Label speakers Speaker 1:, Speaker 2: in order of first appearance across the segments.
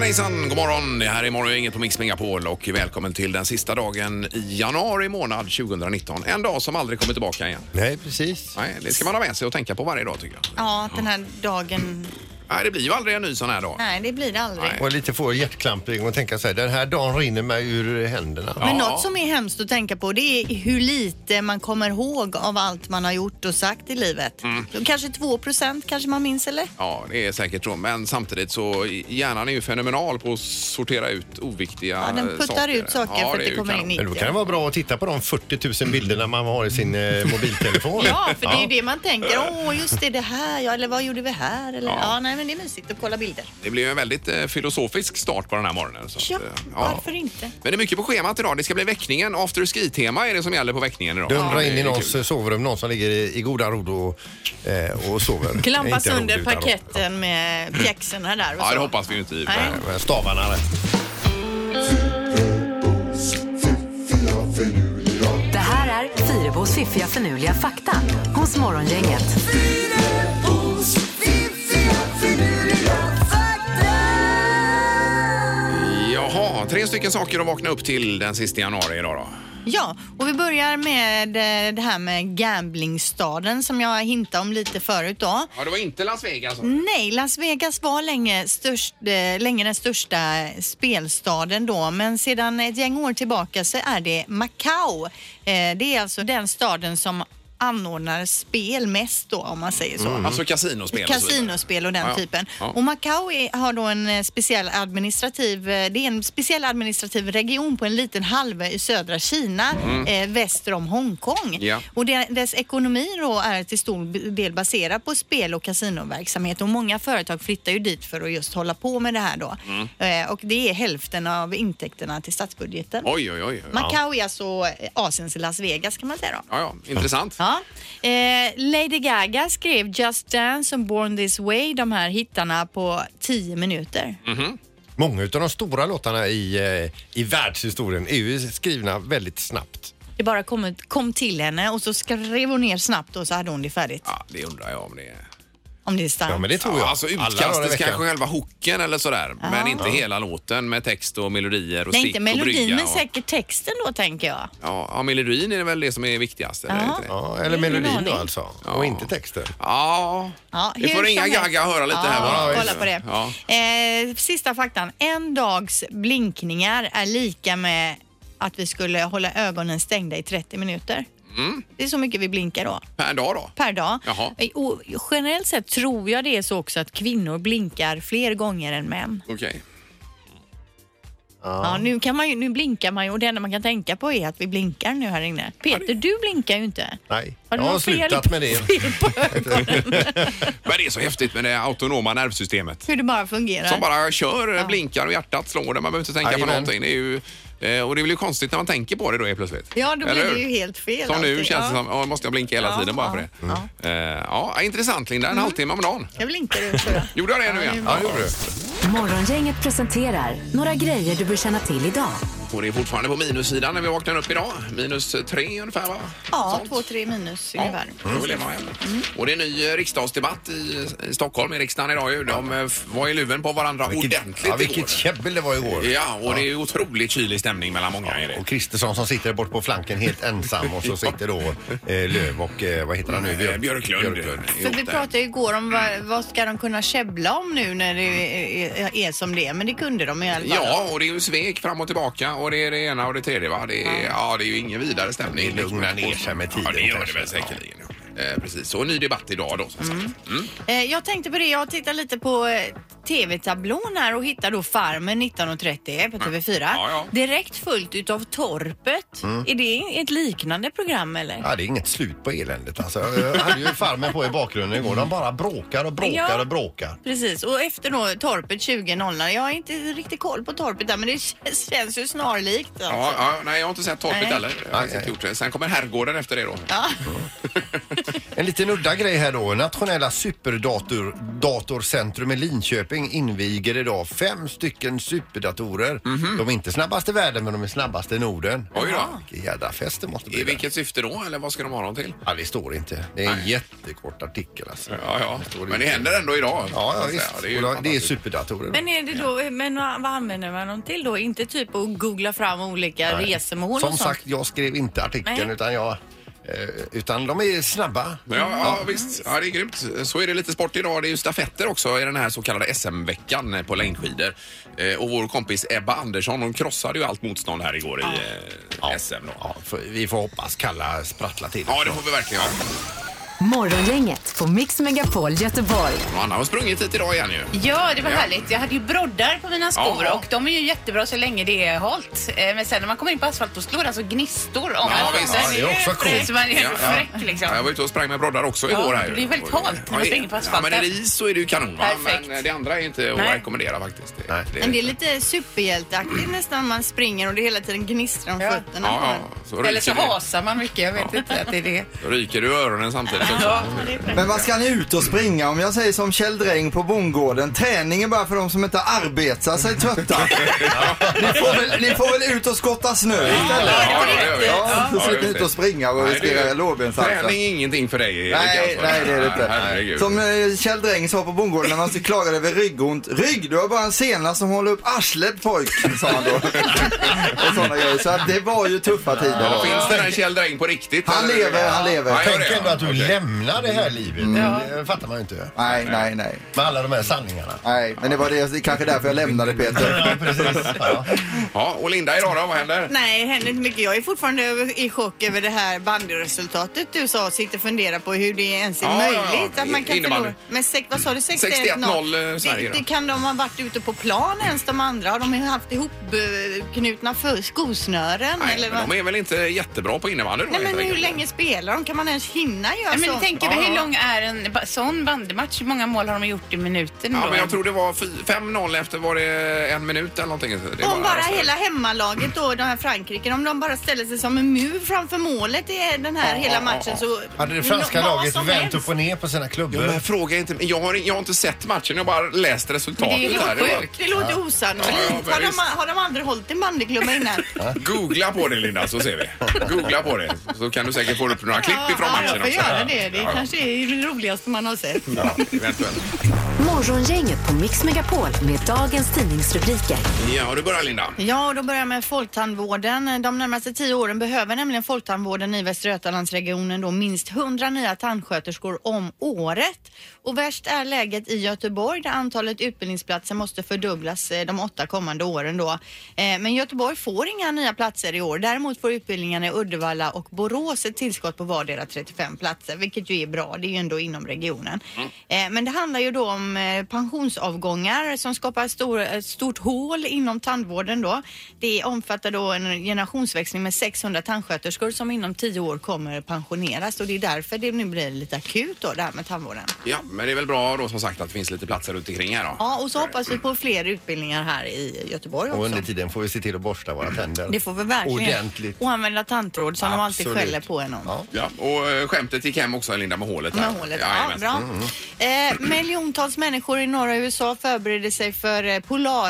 Speaker 1: hejsan, god morgon. Det här är morgon, inget på Mix Megapol och välkommen till den sista dagen i januari månad 2019. En dag som aldrig kommer tillbaka igen.
Speaker 2: Nej, precis.
Speaker 1: Nej, det ska man ha med sig och tänka på varje dag tycker jag.
Speaker 3: Ja, att den här dagen...
Speaker 1: Nej, det blir ju aldrig en ny sån här dag.
Speaker 3: Nej, det blir det aldrig.
Speaker 1: Nej.
Speaker 2: Och lite få hjärtklampning och tänka så här, den här dagen rinner mig ur händerna.
Speaker 1: Ja.
Speaker 3: Men något som är hemskt att tänka på det är hur lite man kommer ihåg av allt man har gjort och sagt i livet.
Speaker 1: Mm.
Speaker 3: Då Kanske 2 kanske man minns eller?
Speaker 1: Ja, det är säkert så. Men samtidigt så hjärnan är ju fenomenal på att sortera ut oviktiga
Speaker 3: Ja, den puttar
Speaker 1: saker.
Speaker 3: ut saker för att det
Speaker 1: är ju
Speaker 3: kommer
Speaker 1: kanon.
Speaker 3: in i-
Speaker 2: Men då kan det vara bra att titta på de 40 000 bilderna man har i sin eh, mobiltelefon.
Speaker 3: Ja, för det är ju
Speaker 2: Ja.
Speaker 3: det man tänker. Åh, just det, det här, ja, eller vad gjorde vi här? Eller, ja. nej, men det är mysigt att kolla bilder.
Speaker 1: Det blir ju en väldigt eh, filosofisk start på den här morgonen. Så att,
Speaker 3: Ja,
Speaker 1: eh,
Speaker 3: varför inte?
Speaker 1: Men det är mycket på schemat idag. Det ska bli väckningen. After ski-tema är det som gäller på väckningen idag.
Speaker 2: Dundra in
Speaker 1: Det
Speaker 2: i
Speaker 1: är
Speaker 2: någons
Speaker 1: kul.
Speaker 2: sovrum, någon som ligger i, i goda ro och, eh, och sover.
Speaker 3: Klampa
Speaker 2: Inte ro,
Speaker 3: sönder
Speaker 2: utan ro.
Speaker 3: paketten med pjäxorna där och
Speaker 1: Ja, det
Speaker 3: så.
Speaker 1: hoppas vi ju inte. i och för sig.
Speaker 3: Nej.
Speaker 2: Men Stavarna där.
Speaker 4: Det här är Fyrabos fiffiga förnuliga fakta hos Morgongänget.
Speaker 1: Jaha, tre stycken saker att vakna upp till den sista januari idag då.
Speaker 3: Ja, och vi börjar med eh, det här med gamblingstaden som jag hintade om lite förut då.
Speaker 1: Ja, det var inte Las Vegas.
Speaker 3: Nej, Las Vegas var länge, störst, eh, länge den största spelstaden då, men sedan ett gäng år tillbaka så är det Macau. Eh, det är alltså den staden som anordnar spel mest då om man säger så.
Speaker 1: Alltså kasinospel och så vidare.
Speaker 3: Kasinospel och den
Speaker 1: Ja, ja.
Speaker 3: typen.
Speaker 1: Ja.
Speaker 3: Och Macau är, har då en eh, speciell administrativ, eh, det är en speciell administrativ region på en liten halvö i södra Kina eh, väster om Hongkong.
Speaker 1: Mm. Ja.
Speaker 3: Och det, dess ekonomi då är till stor b- del baserad på spel och kasinoverksamhet och många företag flyttar ju dit för att just hålla på med det här då.
Speaker 1: Mm.
Speaker 3: Eh, och det är hälften av intäkterna till statsbudgeten.
Speaker 1: Oj, oj, oj. Ja,
Speaker 3: Macau är alltså eh, Asiens Las Vegas kan man säga då.
Speaker 1: ja, intressant.
Speaker 3: Ja. Eh, Lady Gaga skrev Just Dance och Born This Way, de här hittarna, på 10 minuter.
Speaker 1: Mm.
Speaker 2: Många av de stora låtarna i, eh, i världshistorien är ju skrivna väldigt snabbt.
Speaker 3: Det bara kom, kom till henne och så skrev hon ner snabbt och så hade hon det färdigt.
Speaker 1: Ja, det undrar jag om det är...
Speaker 3: Om det är starkt.
Speaker 2: Ja, men det tror jag.
Speaker 1: Ja, alltså
Speaker 2: Alla dagar i
Speaker 1: utkastet
Speaker 2: veckan.
Speaker 1: kanske själva hooken eller sådär. Men inte hela låten med text och melodier och
Speaker 3: Nej,
Speaker 1: stick
Speaker 3: inte
Speaker 1: och
Speaker 3: melodin,
Speaker 1: brygga.
Speaker 3: men
Speaker 1: och-
Speaker 3: säkert texten då tänker jag.
Speaker 1: Ja, ja, melodin är väl det som är viktigast. Eller?
Speaker 3: Ja.
Speaker 1: Inte det?
Speaker 2: Ja, eller
Speaker 3: Ingen
Speaker 2: melodin då
Speaker 3: aning.
Speaker 2: alltså. Och inte texten.
Speaker 1: Ja,
Speaker 3: Ja,
Speaker 1: vi
Speaker 3: hur
Speaker 1: får
Speaker 3: som
Speaker 1: ringa
Speaker 3: helst.
Speaker 1: Gaga och höra lite
Speaker 3: ja,
Speaker 1: här bara.
Speaker 3: Kolla på det.
Speaker 1: Ja.
Speaker 3: Eh, sista faktan. En dags blinkningar är lika med att vi skulle hålla ögonen stängda i 30 minuter.
Speaker 1: Mm.
Speaker 3: Det är så mycket vi blinkar då.
Speaker 1: Per dag då?
Speaker 3: per dag. Eh,
Speaker 1: Jaha.
Speaker 3: Och generellt sett tror jag det är så också att kvinnor blinkar fler gånger än män.
Speaker 1: Okej.
Speaker 3: Ja. nu, kan man ju, nu blinkar man ju och det enda man kan tänka på är att vi blinkar nu här inne. Peter, du blinkar ju inte.
Speaker 2: Nej,
Speaker 3: Har du
Speaker 2: jag har
Speaker 3: något fel
Speaker 2: slutat med det.
Speaker 3: fel på ögonen?
Speaker 1: Men det är så häftigt med det autonoma nervsystemet.
Speaker 3: Hur det bara fungerar.
Speaker 1: Som bara kör, blinkar och hjärtat slår. Det. Man behöver inte tänka på
Speaker 2: Jajamän.
Speaker 1: någonting. Det är ju, eh, och det blir ju konstigt när man tänker på det då helt plötsligt.
Speaker 3: Ja, då blir
Speaker 1: Eller
Speaker 3: det
Speaker 1: hur?
Speaker 3: ju helt fel.
Speaker 1: Som nu
Speaker 3: alltid.
Speaker 1: känns det
Speaker 3: Ja.
Speaker 1: som, ja, måste jag blinka hela
Speaker 3: Ja,
Speaker 1: tiden bara
Speaker 3: ja,
Speaker 1: för det.
Speaker 3: ja. Mm.
Speaker 1: Eh, ja, intressant Linda, en halvtimme om dagen.
Speaker 3: Jag blinkar ut tror jag.
Speaker 1: Gjorde jag det nu igen?
Speaker 2: Ja, det gjorde du.
Speaker 4: Morgongänget presenterar några grejer du bör känna till idag.
Speaker 1: Och det är fortfarande på minussidan när vi vaknar upp idag. Minus tre ungefär va?
Speaker 3: Ja,
Speaker 1: Sånt.
Speaker 3: två, tre minus
Speaker 1: Ja,
Speaker 3: ungefär.
Speaker 1: då vill jag vara hemma.
Speaker 3: Mm.
Speaker 1: Och det är ny eh, riksdagsdebatt i, i Stockholm, i riksdagen idag ju. De eh, f- var i luven på varandra ordentligt
Speaker 2: ja, vilket
Speaker 1: igår.
Speaker 2: käbbel det var igår.
Speaker 1: Ja, och det är otroligt kylig stämning mellan många. Är det.
Speaker 2: Och Kristersson som sitter bort på flanken helt ensam och så sitter då eh, Löv och eh, vad heter han nu?
Speaker 1: Eh, Björklund.
Speaker 3: För
Speaker 1: ihop
Speaker 3: vi
Speaker 1: där.
Speaker 3: pratade ju igår om vad, vad ska de kunna käbbla om nu när det är, är, är som det är, men det kunde de i alla fall.
Speaker 1: Ja, och det är ju svek fram och tillbaka och det är det ena och det tredje. Va? Det, är, ja, det är ju ingen vidare stämning.
Speaker 2: Det lugnar
Speaker 1: Men det-
Speaker 2: ner sig med tiden
Speaker 1: Ja, det gör det
Speaker 2: kanske.
Speaker 1: väl säkerligen. ja. Eh, precis, och en ny debatt idag då som sagt. Mm.
Speaker 3: Eh, Jag tänkte på det, jag tittar lite på eh, TV-tablån här och hittar då Farmen 1930 på TV4.
Speaker 1: Mm. Ja, Mm. ja.
Speaker 3: Direkt följt utav Torpet. Är det ett liknande program eller?
Speaker 2: Ja, det är inget slut på eländet alltså. Jag hade ju farmen på i bakgrunden igår. De bara bråkar och bråkar
Speaker 3: Ja.
Speaker 2: och bråkar.
Speaker 3: Precis, och efter då Torpet 2000. Jag har inte riktigt koll på Torpet där men det känns, känns ju snarlikt. Alltså.
Speaker 1: Ja, ja, nej, jag har inte sett Torpet
Speaker 3: Nej.
Speaker 1: heller. Jag har
Speaker 2: Nej,
Speaker 1: inte
Speaker 2: nej.
Speaker 1: gjort det. Sen kommer Herrgården efter det då.
Speaker 3: Ja.
Speaker 2: En liten udda grej här då. Nationella superdatorcentrum i Linköping inviger idag fem stycken superdatorer. De är inte snabbast i världen men de är snabbast i Norden.
Speaker 1: Mhm. Oj då.
Speaker 2: Vilken jädra fest det måste bli.
Speaker 1: I
Speaker 2: där.
Speaker 1: vilket syfte då, eller vad ska de ha dem till?
Speaker 2: Ja, det står inte. Det är en jättekort artikel alltså.
Speaker 1: Ja, ja. Men det händer ändå idag.
Speaker 2: Ja,
Speaker 1: så
Speaker 2: ja
Speaker 1: att säga.
Speaker 2: visst. Och
Speaker 1: Det är ju
Speaker 2: Det är
Speaker 1: fantastiskt.
Speaker 2: superdatorer. då.
Speaker 3: Men, är det då, men vad använder man dem till då? Inte typ att googla fram olika resmål
Speaker 2: Som
Speaker 3: och sånt?
Speaker 2: sagt, jag skrev inte artikeln
Speaker 3: Nej.
Speaker 2: utan jag... Eh, utan de är snabba.
Speaker 1: Ja,
Speaker 5: Mm.
Speaker 1: ja, visst. Ja, det är grymt. Så är det lite sport idag. Det är ju stafetter också i den här så kallade SM-veckan på längdskidor. Eh, och vår kompis Ebba Andersson, hon krossade ju allt motstånd här igår i eh, SM. Då.
Speaker 2: Ja, för, vi får hoppas Kalla sprattlar till.
Speaker 1: Ja, det får vi verkligen göra.
Speaker 4: Morgongänget på Mix Megapol Göteborg.
Speaker 1: Och Anna har sprungit hit idag igen ju.
Speaker 5: Ja, det var härligt. Jag hade ju broddar på mina skor
Speaker 1: Ja.
Speaker 5: och de är ju jättebra så länge det är halt. Eh, Men sen när man kommer in på asfalt då slår det alltså gnistor om
Speaker 1: Ja,
Speaker 5: allt.
Speaker 1: visst.
Speaker 5: Så
Speaker 1: Ja,
Speaker 2: det är också coolt.
Speaker 5: Så man är
Speaker 1: Ja, ja.
Speaker 5: fräck liksom.
Speaker 1: Ja, jag var ute och sprang med broddar också igår. Här. ju.
Speaker 5: det är väldigt halt när man
Speaker 1: Ja,
Speaker 5: springer på
Speaker 1: ja,
Speaker 5: asfalten.
Speaker 1: men är det is så är det ju kanon. Va?
Speaker 5: Perfekt.
Speaker 1: Men eh, det andra är inte att
Speaker 5: Nej.
Speaker 1: rekommendera faktiskt. Det,
Speaker 2: Nej.
Speaker 1: det-
Speaker 3: Men det är lite superhjälteaktigt nästan när man springer och det hela tiden gnistrar om
Speaker 5: Ja.
Speaker 3: fötterna. på
Speaker 1: ja,
Speaker 3: en.
Speaker 1: ja. Så
Speaker 5: Eller så
Speaker 1: ryker du-
Speaker 5: hasar man mycket. Jag vet inte att det är det.
Speaker 6: Alltså,
Speaker 1: Då ryker du i öronen samtidigt också.
Speaker 5: Ja,
Speaker 7: Men vad ska ni ut och springa om jag säger som Kjell Dräng på bondgården? Träning är bara för de som inte arbetar sig trötta. ni, får väl, ni får väl ut och skotta snö istället?
Speaker 1: Ja, det gör vi.
Speaker 7: Ja,
Speaker 1: Ja,
Speaker 7: så
Speaker 1: just
Speaker 7: sitter ni
Speaker 1: det.
Speaker 7: inte och springa och
Speaker 1: Nej, det
Speaker 7: riskera
Speaker 1: är-
Speaker 7: lårbenshalsen.
Speaker 1: Träning är ingenting för dig. Erik,
Speaker 7: Nej,
Speaker 1: alltså.
Speaker 7: nej det är det inte.
Speaker 1: Herregud.
Speaker 7: Som eh, Kjell Dräng sa på bondgården när han klagade över ryggont. Rygg, du har bara en sena som håller upp arslet pojk, sa han då. och sådana grejer. Så att det var ju tuffa tider då.
Speaker 1: Finns den här Kjell Dräng på riktigt?
Speaker 7: Han
Speaker 1: eller?
Speaker 7: lever, han lever.
Speaker 1: Ja, gör
Speaker 2: Tänk
Speaker 1: det,
Speaker 2: ändå
Speaker 1: ja.
Speaker 2: att du
Speaker 1: Okej.
Speaker 2: lämnar det här livet. Det eh, fattar man ju inte.
Speaker 7: Nej, nej, nej.
Speaker 2: Med alla de här sanningarna.
Speaker 7: Nej, men det var det, det är kanske därför jag lämnade Peter.
Speaker 2: Ja, precis. Ja.
Speaker 1: Ja, och Linda idag då, vad händer?
Speaker 3: Nej, det händer inte mycket. Jag är fortfarande över- i chock över det här bandyresultatet du sa och sitter och funderar på hur det ens är
Speaker 1: Ja, ja, ja.
Speaker 3: möjligt att man kan
Speaker 1: Innebandy.
Speaker 3: förlora. Men sex, vad sa du?
Speaker 1: 61-0, eh, Sverige
Speaker 3: det,
Speaker 1: då.
Speaker 3: det Kan de ha varit ute på plan ens de andra? Har de haft ihopknutna för skosnören?
Speaker 1: Nej,
Speaker 3: eller
Speaker 1: men
Speaker 3: vad?
Speaker 1: de är väl inte jättebra på innebandy då,
Speaker 3: Nej,
Speaker 1: helt
Speaker 3: men hur
Speaker 1: enkelt.
Speaker 3: länge spelar de? Kan man ens hinna göra
Speaker 5: Nej, men
Speaker 3: så?
Speaker 5: ni tänker
Speaker 1: Ja,
Speaker 5: väl hur
Speaker 1: ja.
Speaker 5: lång är en ba- sån bandymatch? Hur många mål har de gjort i minuten
Speaker 1: Ja,
Speaker 5: då?
Speaker 1: men jag tror det var fy- 5-0 efter var det en minut eller någonting. Det
Speaker 3: Om bara
Speaker 1: alltså,
Speaker 3: hela hemmalaget då, de här Frankrike, om de bara ställer sig som en mur framför målet i den här
Speaker 1: Ja, ja,
Speaker 3: hela matchen
Speaker 1: ja.
Speaker 3: så...
Speaker 2: Hade det franska
Speaker 3: Nå- vad
Speaker 2: laget
Speaker 3: som
Speaker 2: vänt
Speaker 3: helst.
Speaker 2: upp och ner på
Speaker 1: Ja,
Speaker 2: sina
Speaker 1: men
Speaker 2: klubbor?
Speaker 1: fråga inte jag har, jag har inte sett matchen, jag har bara läst resultatet.
Speaker 5: Men det är helt
Speaker 1: här. var-
Speaker 5: sjukt.
Speaker 3: Det låter osannolikt.
Speaker 1: Ja, ja, men
Speaker 3: har,
Speaker 1: visst.
Speaker 3: de, har de aldrig hållit en bandyklubba innan?
Speaker 1: Googla på det Linda så ser vi. Googla på det så kan du säkert få upp några klipp ifrån
Speaker 3: ja, jag
Speaker 1: matchen
Speaker 3: får
Speaker 1: också.
Speaker 3: göra det. Det
Speaker 1: Ja,
Speaker 3: kanske är det roligaste man har sett.
Speaker 1: ja, eventuellt.
Speaker 4: Morgongänget på Mix Megapol med dagens tidningsrubriker.
Speaker 1: Ja, du börjar Linda.
Speaker 3: Ja, och då börjar jag med folktandvården. De närmaste tio åren behöver nämligen folktandvården i Västra Götalandsregionen då minst 100 nya tandsköterskor om året. Och värst är läget i Göteborg där antalet utbildningsplatser måste fördubblas eh, de åtta kommande åren då. Eh, Men Göteborg får inga nya platser i år. Däremot får utbildningarna i Uddevalla och Borås ett tillskott på vardera 35 platser, vilket ju är bra. Det är ju ändå inom regionen.
Speaker 2: Mm.
Speaker 3: Eh, Men det handlar ju då om eh, pensionsavgångar som skapar stor, ett stort hål inom tandvården då. Det omfattar då en generationsväxling med 600 tandsköterskor som inom 10 år kommer pensioneras och det är därför det nu blir lite akut då det här med tandvården.
Speaker 1: Ja, men det är väl bra då som sagt att det finns lite platser runt omkring här då.
Speaker 3: Ja, och så hoppas vi på fler utbildningar här i Göteborg
Speaker 2: Och
Speaker 3: också.
Speaker 2: under tiden får vi se till att borsta våra tänder.
Speaker 3: Det får vi verkligen.
Speaker 2: Ordentligt.
Speaker 3: Och använda tandtråd som de alltid
Speaker 2: Absolut.
Speaker 3: skäller på en om.
Speaker 2: Ja.
Speaker 1: Ja, och eh, skämtet gick hem också Linda med hålet. här.
Speaker 3: Med hålet. Ja,
Speaker 1: Jajamän. Mm.
Speaker 3: bra. Eh, miljontals människor i norra USA förbereder sig för eh,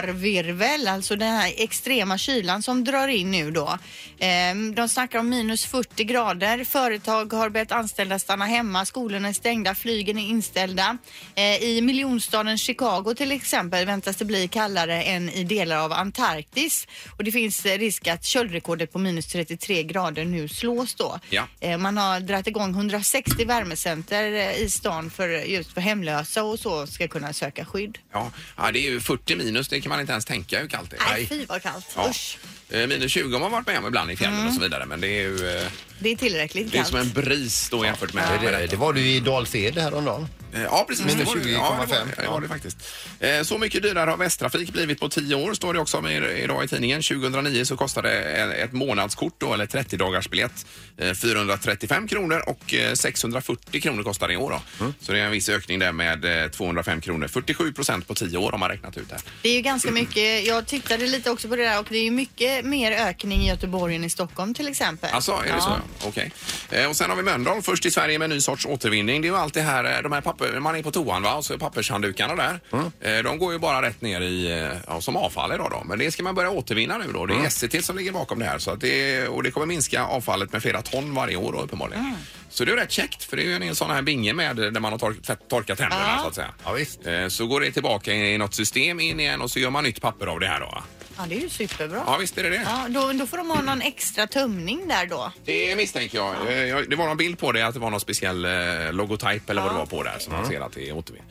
Speaker 3: polarvirvel, alltså den här extrema kylan som drar in nu då. Eh, de snackar om minus 40 grader. Företag har bett anställda stanna hemma, skolorna är stängda, flygen är inställda. Eh, I miljonstaden Chicago till exempel väntas det bli kallare än i delar av Antarktis och det finns eh, risk att köldrekordet på minus 33 grader nu slås då.
Speaker 1: Ja.
Speaker 3: Eh, Man har dragit igång 160 värmecenter eh, i stan för just för hemlösa och så ska kunna söka skydd.
Speaker 1: Ja. ja, det är ju 40 minus, det kan man inte ens tänka hur kallt det är.
Speaker 3: Nej, fy vad kallt.
Speaker 1: Ja.
Speaker 3: Usch.
Speaker 1: Eh, Minus 20 har man varit med om ibland i fjällen och så vidare men det är ju eh,
Speaker 3: Det är tillräckligt
Speaker 1: det är
Speaker 3: kallt.
Speaker 1: som en bris då jämfört med
Speaker 2: Det, det var du i Dals Ed häromdagen.
Speaker 1: Eh, Ja, precis.
Speaker 2: Minus
Speaker 1: det var det.
Speaker 2: 20,5.
Speaker 1: Ja, det var det. Ja, det var det faktiskt. Eh, Så mycket dyrare har Västtrafik blivit på 10 år, står det också om i- idag i tidningen. 2009 så kostade en- ett månadskort, då, eller 30 dagars biljett, eh, 435 kronor och eh, 640 kronor kostar det i år. Då. Så det är en viss ökning där med eh, 205 kronor. 47 procent på 10 år har man räknat ut här.
Speaker 3: Det är ju ganska mycket. Jag tittade lite också på det där och det är ju mycket mer ökning i Göteborg än i Stockholm till exempel.
Speaker 1: Alltså, är det så? Okej. Eh, och sen har vi Mölndal först i Sverige med en ny sorts återvinning. Det är ju alltid här, eh, de här papper, man är på toan va, och så är pappershanddukarna där.
Speaker 2: Mm.
Speaker 1: Eh, de går ju bara rätt ner i, eh, ja, som avfall idag då. Men det ska man börja återvinna nu då. Det är
Speaker 2: Mm.
Speaker 1: SCT som ligger bakom det här. Så att det, och det kommer minska avfallet med flera ton varje år då, uppenbarligen.
Speaker 2: Mm.
Speaker 1: Så det är rätt käckt för det är ju en hel sån här binge med eh, där man har tork, tvätt- torkat händerna så att säga.
Speaker 2: Ja, visst.
Speaker 1: Eh, Så går det tillbaka i i något system in igen och så gör man nytt papper av det här då. va?
Speaker 3: Ja, det är ju superbra.
Speaker 1: Ja visst är det det.
Speaker 3: Ja, då, då får de ha någon extra tömning där då.
Speaker 1: Det misstänker jag. Eh, jag. Det var någon bild på det att det var någon speciell eh, logotyp eller vad det var på där som man ser att det är återvin...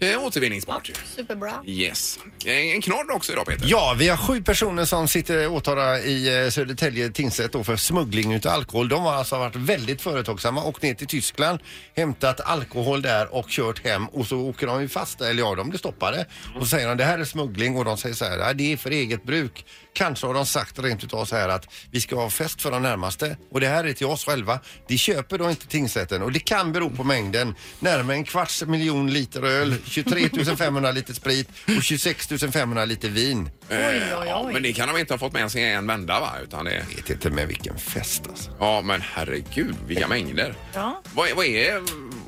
Speaker 1: eh, återvinningsbart.
Speaker 3: Superbra.
Speaker 1: Yes. Eh, En knorr också idag Peter.
Speaker 2: Ja, vi har sju personer som sitter åtalade i eh, Södertälje tingsrätt då för smuggling utav alkohol. De har alltså varit väldigt företagsamma, åkt ner till Tyskland, hämtat alkohol där och kört hem och så åker de ju fast, eller ja, de blir stoppade. Och så säger de det här är smuggling och de säger så här, "Nej, det är för eget bruk. Kanske har de sagt rent utav så här att vi ska ha fest för de närmaste och det här är till oss själva. Det köper då inte tingsrätten och det kan bero på mängden. Närmare en kvarts miljon liter öl, 23 500 liter sprit och 26 500 liter vin.
Speaker 1: Eh, Ja, men det kan de inte ha fått med sig i en vända va? Utan det...
Speaker 2: vet inte med vilken fest alltså.
Speaker 1: Ja men herregud vilka mängder.
Speaker 3: Ja.
Speaker 1: Vad, är- vad, är,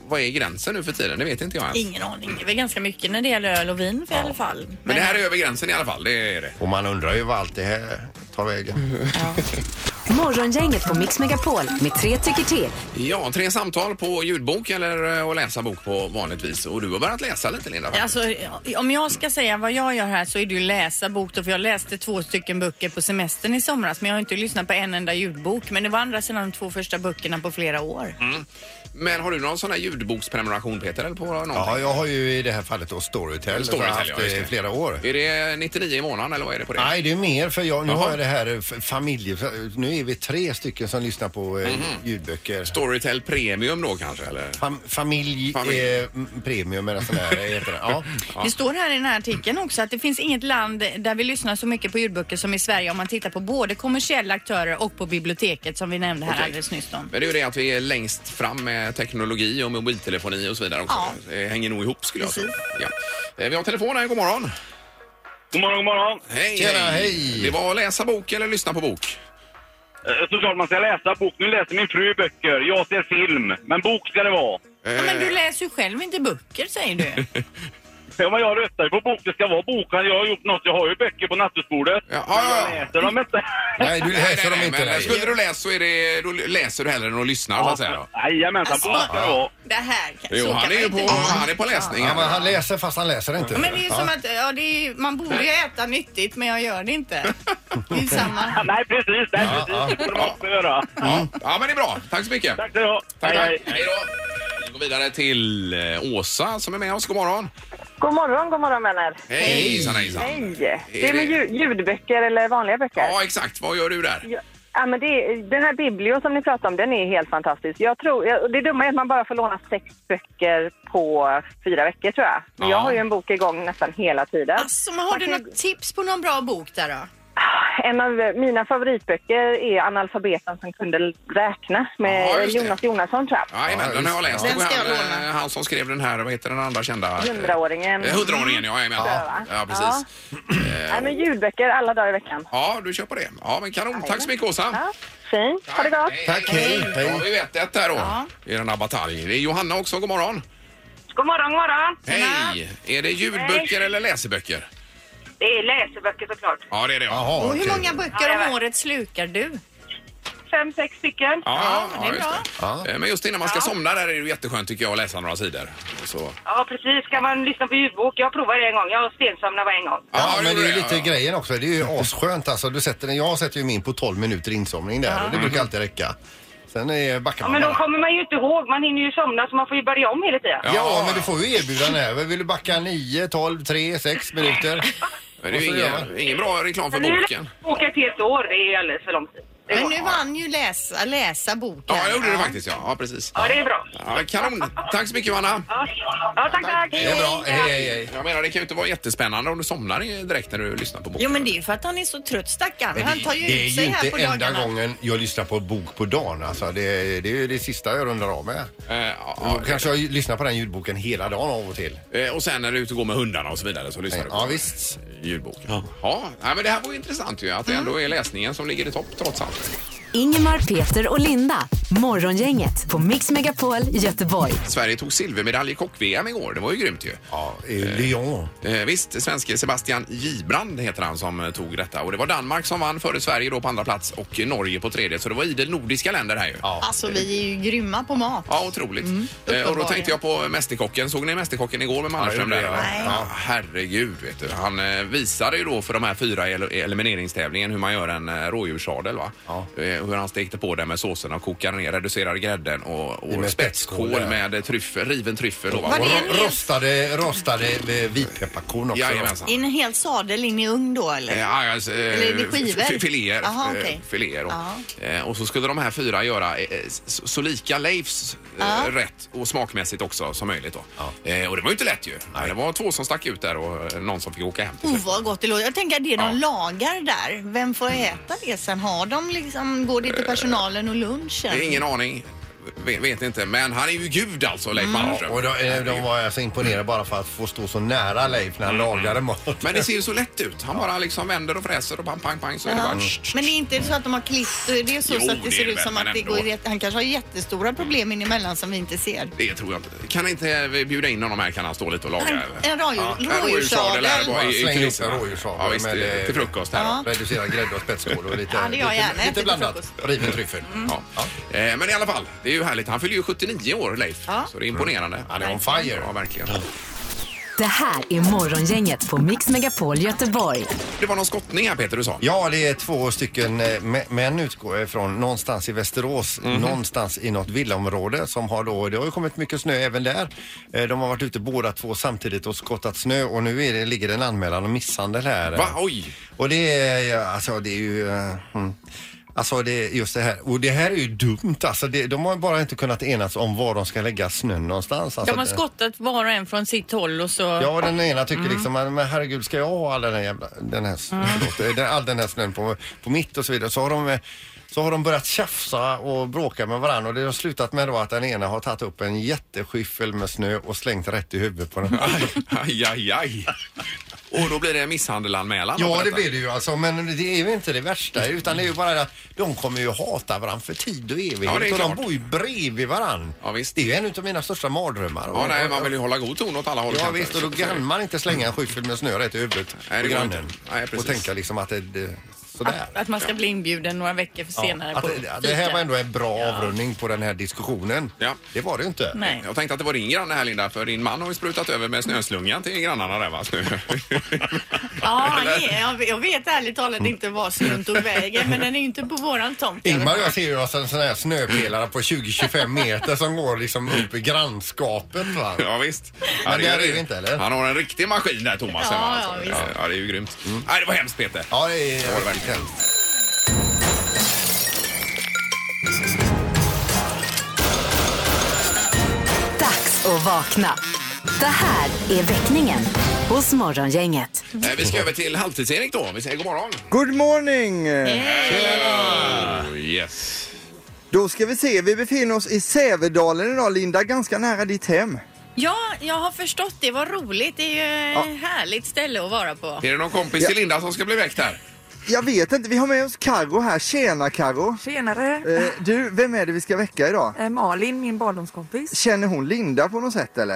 Speaker 1: vad är gränsen nu för tiden? Det vet inte jag ens.
Speaker 3: Ingen aning. Det är väl ganska mycket när det gäller öl och vin i alla fall.
Speaker 1: Men det här är över gränsen i alla fall. Det är det.
Speaker 2: Och man undrar ju vad allt det här tar
Speaker 1: Mm.
Speaker 2: vägen.
Speaker 4: Morgongänget på Mix Megapol med tre tycker till.
Speaker 1: Ja, tre samtal på ljudbok eller eh, att läsa bok på vanligt vis. Och du har börjat läsa lite Linda. faktiskt.
Speaker 3: Alltså, om jag ska säga vad jag gör här så är det ju läsa bok då, för jag läste två stycken böcker på semestern i somras men jag har inte lyssnat på en enda ljudbok. Men det var andra sidan de två första böckerna på flera år.
Speaker 1: Mm, Men har du någon sån här ljudboksprenumeration Peter? Eller på någonting?
Speaker 2: Ja, jag har ju i det här fallet då Storytel, som jag har
Speaker 1: Storytel,
Speaker 2: haft
Speaker 1: ja, just
Speaker 2: i
Speaker 1: det.
Speaker 2: flera år.
Speaker 1: Är det 99 i månaden eller vad är det på det?
Speaker 2: Nej, det är mer för jag, nu
Speaker 1: Jaha.
Speaker 2: har jag det här eh, f- familje... Nu är vi tre stycken som lyssnar på
Speaker 1: Mhm.
Speaker 2: eh, ljudböcker.
Speaker 1: Storytel Premium då kanske eller?
Speaker 2: Fam, familj,
Speaker 1: Familj.
Speaker 2: Eh, m- premium eller sån här heter det. Ja.
Speaker 3: Det står här i den här artikeln också att det finns inget land där vi lyssnar så mycket på ljudböcker som i Sverige om man tittar på både kommersiella aktörer och på biblioteket som vi nämnde här
Speaker 1: Okej.
Speaker 3: alldeles nyss. Om.
Speaker 1: Men det är ju det att vi är längst fram med teknologi och mobiltelefoni och så vidare också.
Speaker 3: Ja.
Speaker 1: Det hänger nog ihop skulle jag
Speaker 3: Precis.
Speaker 1: säga. Ja. Eh, Vi har telefon här, god morgon.
Speaker 8: God morgon, god morgon.
Speaker 1: Hej,
Speaker 2: Tjena, hej.
Speaker 1: Det var läsa bok eller lyssna på bok?
Speaker 8: Eh, Såklart man ska läsa bok. Nu läser min fru böcker, jag ser film. Men bok ska det vara.
Speaker 3: Ja, men du läser ju själv inte böcker säger du.
Speaker 8: Ja, men jag röstar ju på bok. Det ska vara bok. Jag har gjort något. Jag har ju böcker på nattduksbordet.
Speaker 1: Eh, Ja, Ah,
Speaker 8: Men
Speaker 1: ja,
Speaker 8: jag
Speaker 1: ja.
Speaker 8: läser dem inte.
Speaker 2: Nej, du läser dem
Speaker 1: nej,
Speaker 2: inte.
Speaker 1: men,
Speaker 2: nej.
Speaker 1: Skulle du läsa så är det, då läser du hellre än att lyssna så att säga. då.
Speaker 8: Jajamensan,
Speaker 3: Alltså,
Speaker 8: bok ska det vara.
Speaker 3: Det här kan- så
Speaker 1: Jo,
Speaker 3: kan
Speaker 1: han är
Speaker 3: man
Speaker 1: ju
Speaker 3: inte
Speaker 1: på,
Speaker 3: göra.
Speaker 1: han är på läsning.
Speaker 2: Ja,
Speaker 1: här.
Speaker 2: men han läser fast han läser inte.
Speaker 3: Men det är ju
Speaker 2: ja.
Speaker 3: som att ja, det är, ju- man borde ju äta nyttigt men jag gör det inte. Det är ju samma.
Speaker 8: Nej, precis. Nej, precis. Det får man också göra.
Speaker 1: ja. ja, men det är bra. Tack så mycket.
Speaker 8: Tack ska du ha.
Speaker 1: Tack,
Speaker 8: Hej, hej.
Speaker 1: tack. Hej då. Vi går vidare till eh, Åsa som är med oss. God morgon.
Speaker 9: God morgon, god morgon vänner.
Speaker 1: Hej, hejsan, hejsan.
Speaker 9: Hej!
Speaker 1: Är
Speaker 9: Det är med
Speaker 1: det-
Speaker 9: ljud, ljudböcker eller vanliga böcker?
Speaker 1: Ja, exakt. Vad gör du där?
Speaker 9: Ja, ja, men det, är- den här biblio som ni pratar om, den är helt fantastisk. Jag tror, jag, det dumma är att man bara får låna sex böcker på fyra veckor tror jag. Men jag
Speaker 1: Ja.
Speaker 9: har ju en bok igång nästan hela tiden.
Speaker 3: Alltså, men har du något tips på någon bra bok där då?
Speaker 9: En av mina favoritböcker är Analfabeten som kunde räkna med
Speaker 1: Ja, just det.
Speaker 9: Jonas Jonasson tror jag.
Speaker 1: Ja,
Speaker 2: Ja,
Speaker 1: den har jag läst.
Speaker 2: visst.
Speaker 3: Den
Speaker 1: Det var
Speaker 3: ska jag
Speaker 1: han,
Speaker 3: låna.
Speaker 1: eh, han som skrev den här, vad heter den andra kända? eh,
Speaker 9: Hundraåringen.
Speaker 1: eh, Hundraåringen, ja. jajamän.
Speaker 9: Ja.
Speaker 1: Ja, precis.
Speaker 9: Nej, men ljudböcker alla dagar i veckan.
Speaker 1: Ja, du kör på det. Ja, men kanon. Tack så mycket, Åsa.
Speaker 9: Ja, fint. Ha det gott.
Speaker 2: Tack, hej.
Speaker 1: Då har
Speaker 2: hej.
Speaker 1: vi vet ett här då, i den här bataljen. Det är Johanna också, god morgon.
Speaker 9: God morgon, god morgon.
Speaker 1: Hej! Är det ljudböcker eller läseböcker?
Speaker 9: Det är läseböcker såklart.
Speaker 1: Ja, det är det. Ja,
Speaker 2: Jaha,
Speaker 3: Och hur
Speaker 2: okej.
Speaker 3: många böcker om året slukar du?
Speaker 9: Fem, sex stycken.
Speaker 1: ja, ja,
Speaker 3: det är
Speaker 1: just
Speaker 3: bra.
Speaker 2: Ja.
Speaker 1: det. Eh, Men just innan man ska somna där är det ju jätteskönt tycker jag att läsa några sidor. Så. eh,
Speaker 9: Ja, precis. Kan man lyssna på ljudbok? Jag provade det en gång. Jag stensomnade varje gång.
Speaker 2: Ja,
Speaker 1: Ja, det
Speaker 2: men det är
Speaker 1: gjorde jag,
Speaker 2: ju lite
Speaker 1: ja.
Speaker 2: grejen också. Det är ju asskönt alltså. Du sätter den, jag sätter ju min på 12 minuter insomning där och det brukar alltid räcka. Sen är backar
Speaker 9: Ja,
Speaker 2: man
Speaker 9: men då
Speaker 2: bara.
Speaker 9: kommer man ju inte ihåg. Man hinner ju somna så man får ju börja om hela tiden.
Speaker 1: Ja.
Speaker 2: Ja, men du får ju erbjudanden här. Vill du backa 9, 12, 3, 6 minuter?
Speaker 1: Men det är ju
Speaker 2: Och så gör
Speaker 1: ingen, ingen bra reklam för
Speaker 9: Nu är
Speaker 1: boken.
Speaker 9: det boken till ett år. Det är ju alldeles för lång tid. det
Speaker 3: Men
Speaker 9: var.
Speaker 3: nu vann ju läsa, läsa boken.
Speaker 1: Ja, jag gjorde det faktiskt. Ja, ja precis.
Speaker 9: Ja, det är bra.
Speaker 1: Ja, kanon. Tack så mycket, Anna.
Speaker 9: Ja, ja tack, tack.
Speaker 1: Det är bra. Hej, hej, hej. Jag menar, det kan ju inte vara jättespännande om du somnar i- direkt när du lyssnar på boken.
Speaker 3: Jo, men det är ju för att han är så trött stackarn. Han tar ju
Speaker 2: det är
Speaker 3: ut
Speaker 2: ju
Speaker 3: sig här
Speaker 2: inte
Speaker 3: på
Speaker 2: enda
Speaker 3: dagarna.
Speaker 2: gången jag lyssnar på bok på dagen. Alltså, det, det är ju det sista jag rundar av med.
Speaker 1: Eh,
Speaker 2: Ja,
Speaker 1: ja,
Speaker 2: kanske jag lyssnar på den ljudboken hela dagen av och till.
Speaker 1: Eh, Och sen när du är ute och går med hundarna och så vidare så lyssnar du
Speaker 2: Ja,
Speaker 1: på
Speaker 2: visst.
Speaker 1: ljudbok. Ja. nej, men det här var ju intressant ju att det ändå är läsningen som ligger i topp trots allt.
Speaker 4: Ingemar, Peter och Linda. Morgongänget på Mix Megapol Göteborg.
Speaker 1: Sverige tog silvermedalj i kock-VM igår. Det var ju grymt ju.
Speaker 2: Ja, i Lyon.
Speaker 1: Eh, visst, svenske Sebastian Gibrand heter han som eh, tog detta. Och det var Danmark som vann före Sverige då på andra plats och Norge på tredje. Så det var idel nordiska länder här ju. Ja.
Speaker 3: Alltså, vi är ju grymma på mat. Mm.
Speaker 1: Ja, otroligt. eh, och då
Speaker 3: uppenbarligen.
Speaker 1: tänkte jag på Mästerkocken. Såg ni Mästerkocken igår med Mannerström?
Speaker 2: Ja,
Speaker 1: där?
Speaker 2: det gjorde jag.
Speaker 1: eller? ja, herregud, vet du. Han eh, visade ju då för de här fyra i el- elimineringstävlingen hur man gör en eh, rådjurssadel. Va?
Speaker 2: Ja.
Speaker 1: Eh, hur han stekte på den med såsen och kokade ner, reducerade grädden och,
Speaker 2: Det
Speaker 1: och
Speaker 2: med
Speaker 1: spetskål
Speaker 2: spetskål, ja.
Speaker 1: med eh, tryffel, riven tryffel. Då, va?
Speaker 3: Var
Speaker 2: Och
Speaker 3: det en
Speaker 2: ro-
Speaker 3: hel-
Speaker 2: rostade, rostade eh, vitpepparkorn också.
Speaker 1: Jajamensan.
Speaker 3: I en hel sadel in i ugn då, eller?
Speaker 1: Eh, Ja, ja, s- eh,
Speaker 3: Eller är det skivor?
Speaker 1: f- f- Filéer.
Speaker 3: Aha,
Speaker 1: eh,
Speaker 3: okej.
Speaker 1: filéer och,
Speaker 3: Ja.
Speaker 1: eh, och så skulle de här fyra göra eh, eh, så, så lika Leifs eh, rätt och smakmässigt också som möjligt. Då. Eh, och det var ju inte lätt ju. Det var två som stack ut där och eh, någon som fick åka hem till
Speaker 3: Oh,
Speaker 1: slut.
Speaker 3: vad gott det låter. Jag tänker att det de
Speaker 1: Ja.
Speaker 3: lagar där, vem får äta det sen? Har de liksom, går det till personalen och lunchen?
Speaker 1: Det är ingen aning. Vet, vet inte. Men han är ju gud alltså, Leif
Speaker 3: Mm.
Speaker 2: Ja,
Speaker 1: Mannerström.
Speaker 2: och de, eh, de var alltså imponerade bara för att få stå så nära Leif när han
Speaker 1: Mm.
Speaker 2: lagade mat.
Speaker 1: Men det ser ju så lätt ut. Han bara liksom vänder och fräser och pang, pang, pang så är det bara...
Speaker 3: Men det är inte så att de har klippt, det är så,
Speaker 1: Jo,
Speaker 3: så
Speaker 1: det
Speaker 3: att det
Speaker 1: är
Speaker 3: ser
Speaker 1: det
Speaker 3: ut
Speaker 1: väl,
Speaker 3: som
Speaker 1: men
Speaker 3: att det
Speaker 1: ändå.
Speaker 3: går jätte... Han kanske har jättestora problem inemellan som vi inte ser.
Speaker 1: Det tror jag inte. Kan inte vi bjuda in honom här kan han stå lite och laga?
Speaker 3: En, en rådjur,
Speaker 1: rådjurssadel här
Speaker 3: rådjurssadel.
Speaker 1: bara i- i
Speaker 2: Släng ihop
Speaker 1: kulisserna.
Speaker 2: en rådjurssadel
Speaker 1: Ja, visst,
Speaker 2: med,
Speaker 1: till-
Speaker 2: eh,
Speaker 1: till frukost här då.
Speaker 3: Ja.
Speaker 2: Reducerad grädde och spetskål och lite,
Speaker 3: Ja, det gör jag gärna.
Speaker 2: lite, lite
Speaker 3: Till
Speaker 2: blandat.
Speaker 3: frukost. Mm.
Speaker 2: Riven tryffel.
Speaker 1: Ja. Eh, Men i alla fall, det är ju härligt. Han fyller ju 79 år, Leif.
Speaker 3: Ja.
Speaker 1: Så det är imponerande.
Speaker 2: Han är on fire.
Speaker 1: Ja, verkligen.
Speaker 4: Det här är Morgongänget på Mix Megapol Göteborg.
Speaker 1: Det var någon skottning här, Peter, du sa.
Speaker 2: Ja, det är två stycken eh, mä- män utgår jag ifrån. Någonstans i Västerås,
Speaker 1: Mhm.
Speaker 2: någonstans i något villaområde som har då, det har ju kommit mycket snö även där. Eh, De har varit ute båda två samtidigt och skottat snö och nu är det, ligger det en anmälan om misshandel här.
Speaker 1: Va? Oj!
Speaker 2: Och det är, ja, alltså det är ju... eh, Mm. Alltså det är just det här. Och det här är ju dumt alltså. Det, de har bara inte kunnat enas om var de ska lägga snön någonstans. Alltså,
Speaker 6: De har
Speaker 2: det-
Speaker 6: skottat var och en från sitt håll och så...
Speaker 2: Ja, och den ena tycker liksom, men herregud ska jag ha all den här jävla, den här, förlåt, eh, den- all den här snön på, på mitt och så vidare. Så har de eh, så har de börjat tjafsa och bråka med varandra och det har slutat med då att den ena har tagit upp en jätteskyffel med snö och slängt rätt i huvudet på den andra.
Speaker 1: Aj, aj, aj. Och då blir det en misshandelanmälan? av
Speaker 2: Ja, det
Speaker 1: detta.
Speaker 2: blir det ju alltså. Men det är ju inte det värsta utan det är ju bara det att de kommer ju hata varandra för tid och evighet.
Speaker 1: Ja, det är
Speaker 2: och de
Speaker 1: klart.
Speaker 2: bor ju bredvid varandra.
Speaker 1: Ja, visst.
Speaker 2: Det är ju en av mina största mardrömmar.
Speaker 1: Ja, nej, man vill ju hålla god ton åt alla håll
Speaker 2: Ja
Speaker 1: kanter.
Speaker 2: visst, och då kan man inte slänga en skyffel med snö rätt i huvudet
Speaker 1: Nej,
Speaker 2: på
Speaker 1: det går inte.
Speaker 2: grannen.
Speaker 1: Nej, precis.
Speaker 2: och tänka liksom att det, det sådär.
Speaker 6: Att man ska bli inbjuden några veckor för senare
Speaker 2: Att
Speaker 6: på
Speaker 2: det, det här
Speaker 6: fika.
Speaker 2: var ändå en bra avrundning på den här diskussionen.
Speaker 1: Ja.
Speaker 2: Det var det ju inte.
Speaker 6: Nej.
Speaker 1: Jag tänkte att det var din granne här, Linda, för din man har ju sprutat över med snöslungan till grannarna där, va? Snö.
Speaker 6: Ja, han är, jag vet- jag vet ärligt talat inte var snön tog vägen, men den är ju inte på våran tomt.
Speaker 2: Ingmar och jag ser ju oss en sån här snöpelare på 20-25 meter som går liksom upp i grannskapet. Va?
Speaker 1: Ja, visst. Ja,
Speaker 2: Men där
Speaker 1: ju-
Speaker 2: är vi inte, eller?
Speaker 1: Han har en riktig maskin där, Thomas.
Speaker 6: Ja,
Speaker 1: va?
Speaker 6: ja, visst.
Speaker 1: ja, det är ju grymt. Nej, det var hemskt, Peter.
Speaker 2: Ja, det
Speaker 1: var
Speaker 2: är
Speaker 1: det
Speaker 2: riktigt
Speaker 1: verkligen.
Speaker 2: hemskt.
Speaker 4: Dags att vakna. Det här är väckningen hos Morgongänget.
Speaker 1: Eh, Vi ska över till Halvtids-Erik då. Vi säger god morgon.
Speaker 7: Good morning!
Speaker 1: Oh, yes.
Speaker 7: Då ska vi se, vi befinner oss i Sävedalen idag Linda, ganska nära ditt hem.
Speaker 6: Ja, jag har förstått det. Vad roligt. Det är ju ett härligt ställe att vara på.
Speaker 1: Är det någon kompis till Linda som ska bli väckt här?
Speaker 7: Jag vet inte, vi har med oss Karo här. Tjena Karo!
Speaker 10: Tjenare!
Speaker 7: Eh, du, vem är det vi ska väcka idag?
Speaker 10: Eh, Malin, min barndomskompis.
Speaker 7: Känner hon Linda på något sätt eller?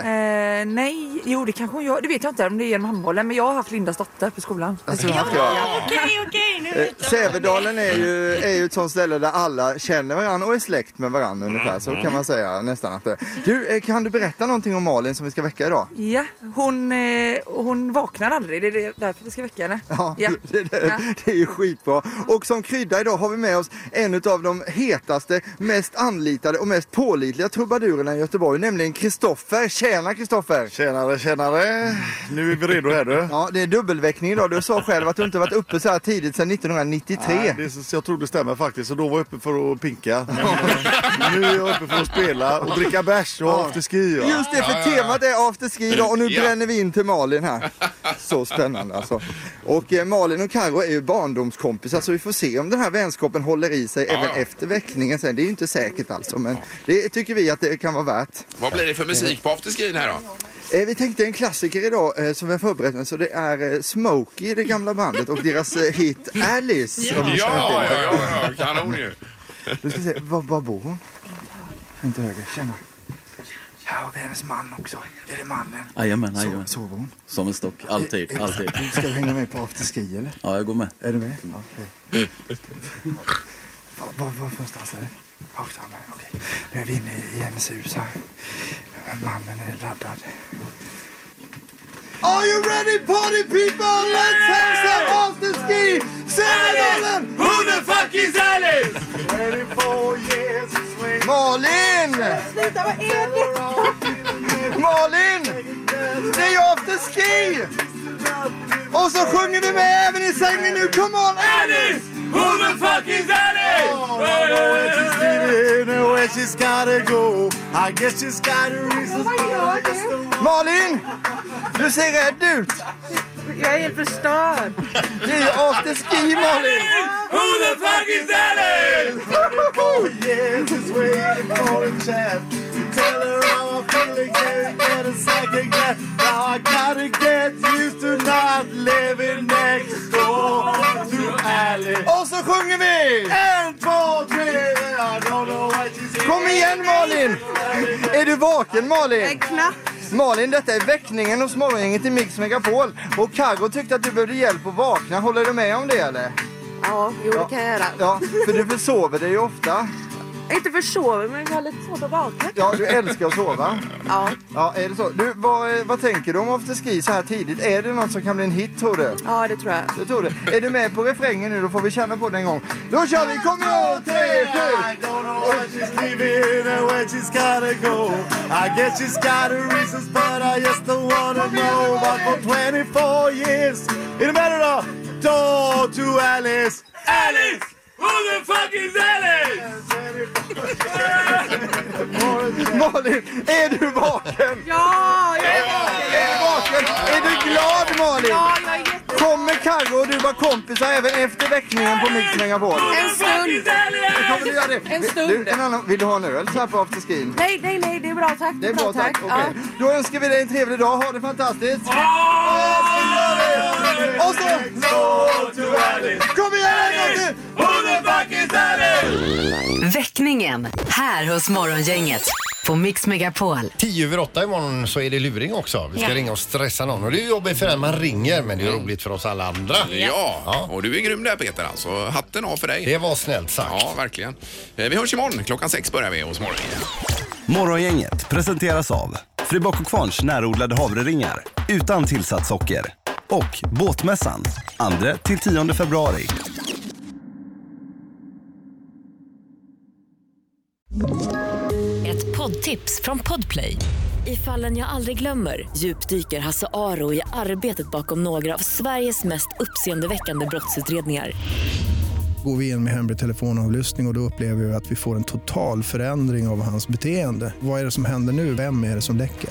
Speaker 10: Eh, nej, jo det kanske hon gör. Det vet jag inte om det är genom handbollen. Men jag har haft Lindas dotter på skolan.
Speaker 7: Alltså, hon har haft- ja.
Speaker 6: Okej, okej. Nu
Speaker 7: Eh,
Speaker 6: vet jag.
Speaker 7: Sävedalen är ju, är ju ett sånt ställe där alla känner varandra och är släkt med
Speaker 6: Mm,
Speaker 7: varandra ungefär. Så kan man säga nästan att det Du, eh, kan du berätta någonting om Malin som vi ska väcka idag?
Speaker 10: Ja, hon, eh, hon vaknar aldrig. Det är det- därför vi ska väcka henne.
Speaker 7: Ja, det, det, det är ju ju skitbra. Och som krydda idag har vi med oss en av de hetaste, mest anlitade och mest pålitliga trubadurerna i Göteborg, nämligen Kristoffer. Tjena Kristoffer! Tjenare, tjenare! Nu är vi redo här du. Ja, det är dubbelväckning idag. Du sa själv att du inte varit uppe så här tidigt sedan 1993.
Speaker 11: Nej, det, är så- jag tror det stämmer faktiskt. Så då var jag uppe för att pinka. nu är jag uppe för att spela och dricka bärs och
Speaker 7: Ja.
Speaker 11: afterski. Ja.
Speaker 7: Just det, för temat är afterski idag och nu
Speaker 11: Ja.
Speaker 7: bränner vi in till Malin här. Så spännande alltså. Och eh, Malin och Karo är ju barndomskompisar så vi får se om den här vänskapen håller i sig
Speaker 1: Ja,
Speaker 7: även
Speaker 1: ja.
Speaker 7: efter väckningen sen. Det är ju inte säkert alltså men det tycker vi att det kan vara värt.
Speaker 1: Vad blir det för musik på afterskin här då?
Speaker 7: Eh, vi tänkte en klassiker idag eh, som vi har förberett en, så det är eh, Smokey, det gamla bandet och deras eh, hit Alice. om ni känner till
Speaker 1: Ja,
Speaker 7: den.
Speaker 1: ja, ja, kanon ju.
Speaker 7: Nu ska vi se, var, var bor hon? Inte höger, tjena. Ja, och det är hennes man också. Är det mannen?
Speaker 12: Jajamän,
Speaker 7: Så-
Speaker 12: jajamän.
Speaker 7: Sover hon?
Speaker 12: Som en stock, alltid,
Speaker 7: Eh,
Speaker 12: alltid.
Speaker 7: Ska du hänga med på afterski eller?
Speaker 12: Ja, jag går med.
Speaker 7: Är du med? Okej. Var, var, var någonstans är det? Rakt fram här, okej. Nu är vi inne i hennes hus här. Mannen är laddad. Are you ready party people? Let's have some afterski! Seven Who the fuck is Alice? Malin! Sluta, vad är det? Malin! Det är ju afterski! Och så sjunger vi med även i sängen nu. Come on Alice! er Who the fuck is Alice? er Malin! Du ser rädd ut. Jag är helt förstörd. Det är ju afterski Malin. Who the fuck is Oh, Och så sjunger vi! En, två, tre! Kom igen Malin! Är du vaken Malin? Malin, detta är väckningen hos morgongänget i Mix Megapol. Och Carro tyckte att du behövde hjälp att vakna. Håller du med om det eller?
Speaker 10: Ja, jo det kan jag göra.
Speaker 7: Ja, för du försover dig ju ofta.
Speaker 10: Jag inte försover men jag har lite svårt att vakna.
Speaker 7: Ja, du älskar att sova. Ja. Ja, är det så? Du, vad, vad tänker du om afterski så här tidigt? Är det något som kan bli en hit tror du? Ja, det tror jag. Det tror du. Är du med på refrängen nu? Då får vi känna på den en gång. Då kör vi! Kom igen! Tre, fyra!
Speaker 13: Alice! Who the fuck is Alice?
Speaker 7: Malin, är du vaken? Ja, jag är vaken! Är du vaken? Är du glad Malin? Ja, jag är jätteglad. Kommer Carro och du vara kompisar även efter väckningen på Mix Megapol?
Speaker 10: En stund.
Speaker 7: Kommer du göra det?
Speaker 10: En
Speaker 7: Du,
Speaker 10: stund.
Speaker 7: en annan, vill du ha en öl så här på afterskin?
Speaker 10: Nej, nej, nej, det är bra tack.
Speaker 7: Det är bra, tack. Okej.
Speaker 10: Ja.
Speaker 7: Då önskar vi dig en trevlig dag. Ha det fantastiskt. Och så... Kom igen, en gång till!
Speaker 4: Väckningen här hos Morgongänget på Mix Megapol.
Speaker 2: 10 över 8 imorgon så är det luring också. Vi ska
Speaker 4: Ja.
Speaker 2: ringa och stressa någon. Och det är jobbigt för den man ringer men det är roligt för oss alla andra.
Speaker 1: Mm. Ja, och du är grym där Peter alltså. Hatten av för dig.
Speaker 2: Det var snällt sagt.
Speaker 1: Ja, verkligen. Eh, Vi hörs imorgon. Klockan sex börjar vi hos morgon.
Speaker 14: Morgongänget presenteras av Fribock och Kvarns närodlade havreringar utan tillsatt socker och Båtmässan 2-10 februari.
Speaker 15: Ett poddtips från Podplay. I fallen jag aldrig glömmer djupdyker Hasse Aro i arbetet bakom några av Sveriges mest uppseendeväckande brottsutredningar.
Speaker 16: Går vi in med hemlig telefonavlyssning och, och då upplever vi att vi får en total förändring av hans beteende. Vad är det som händer nu? Vem är det som läcker?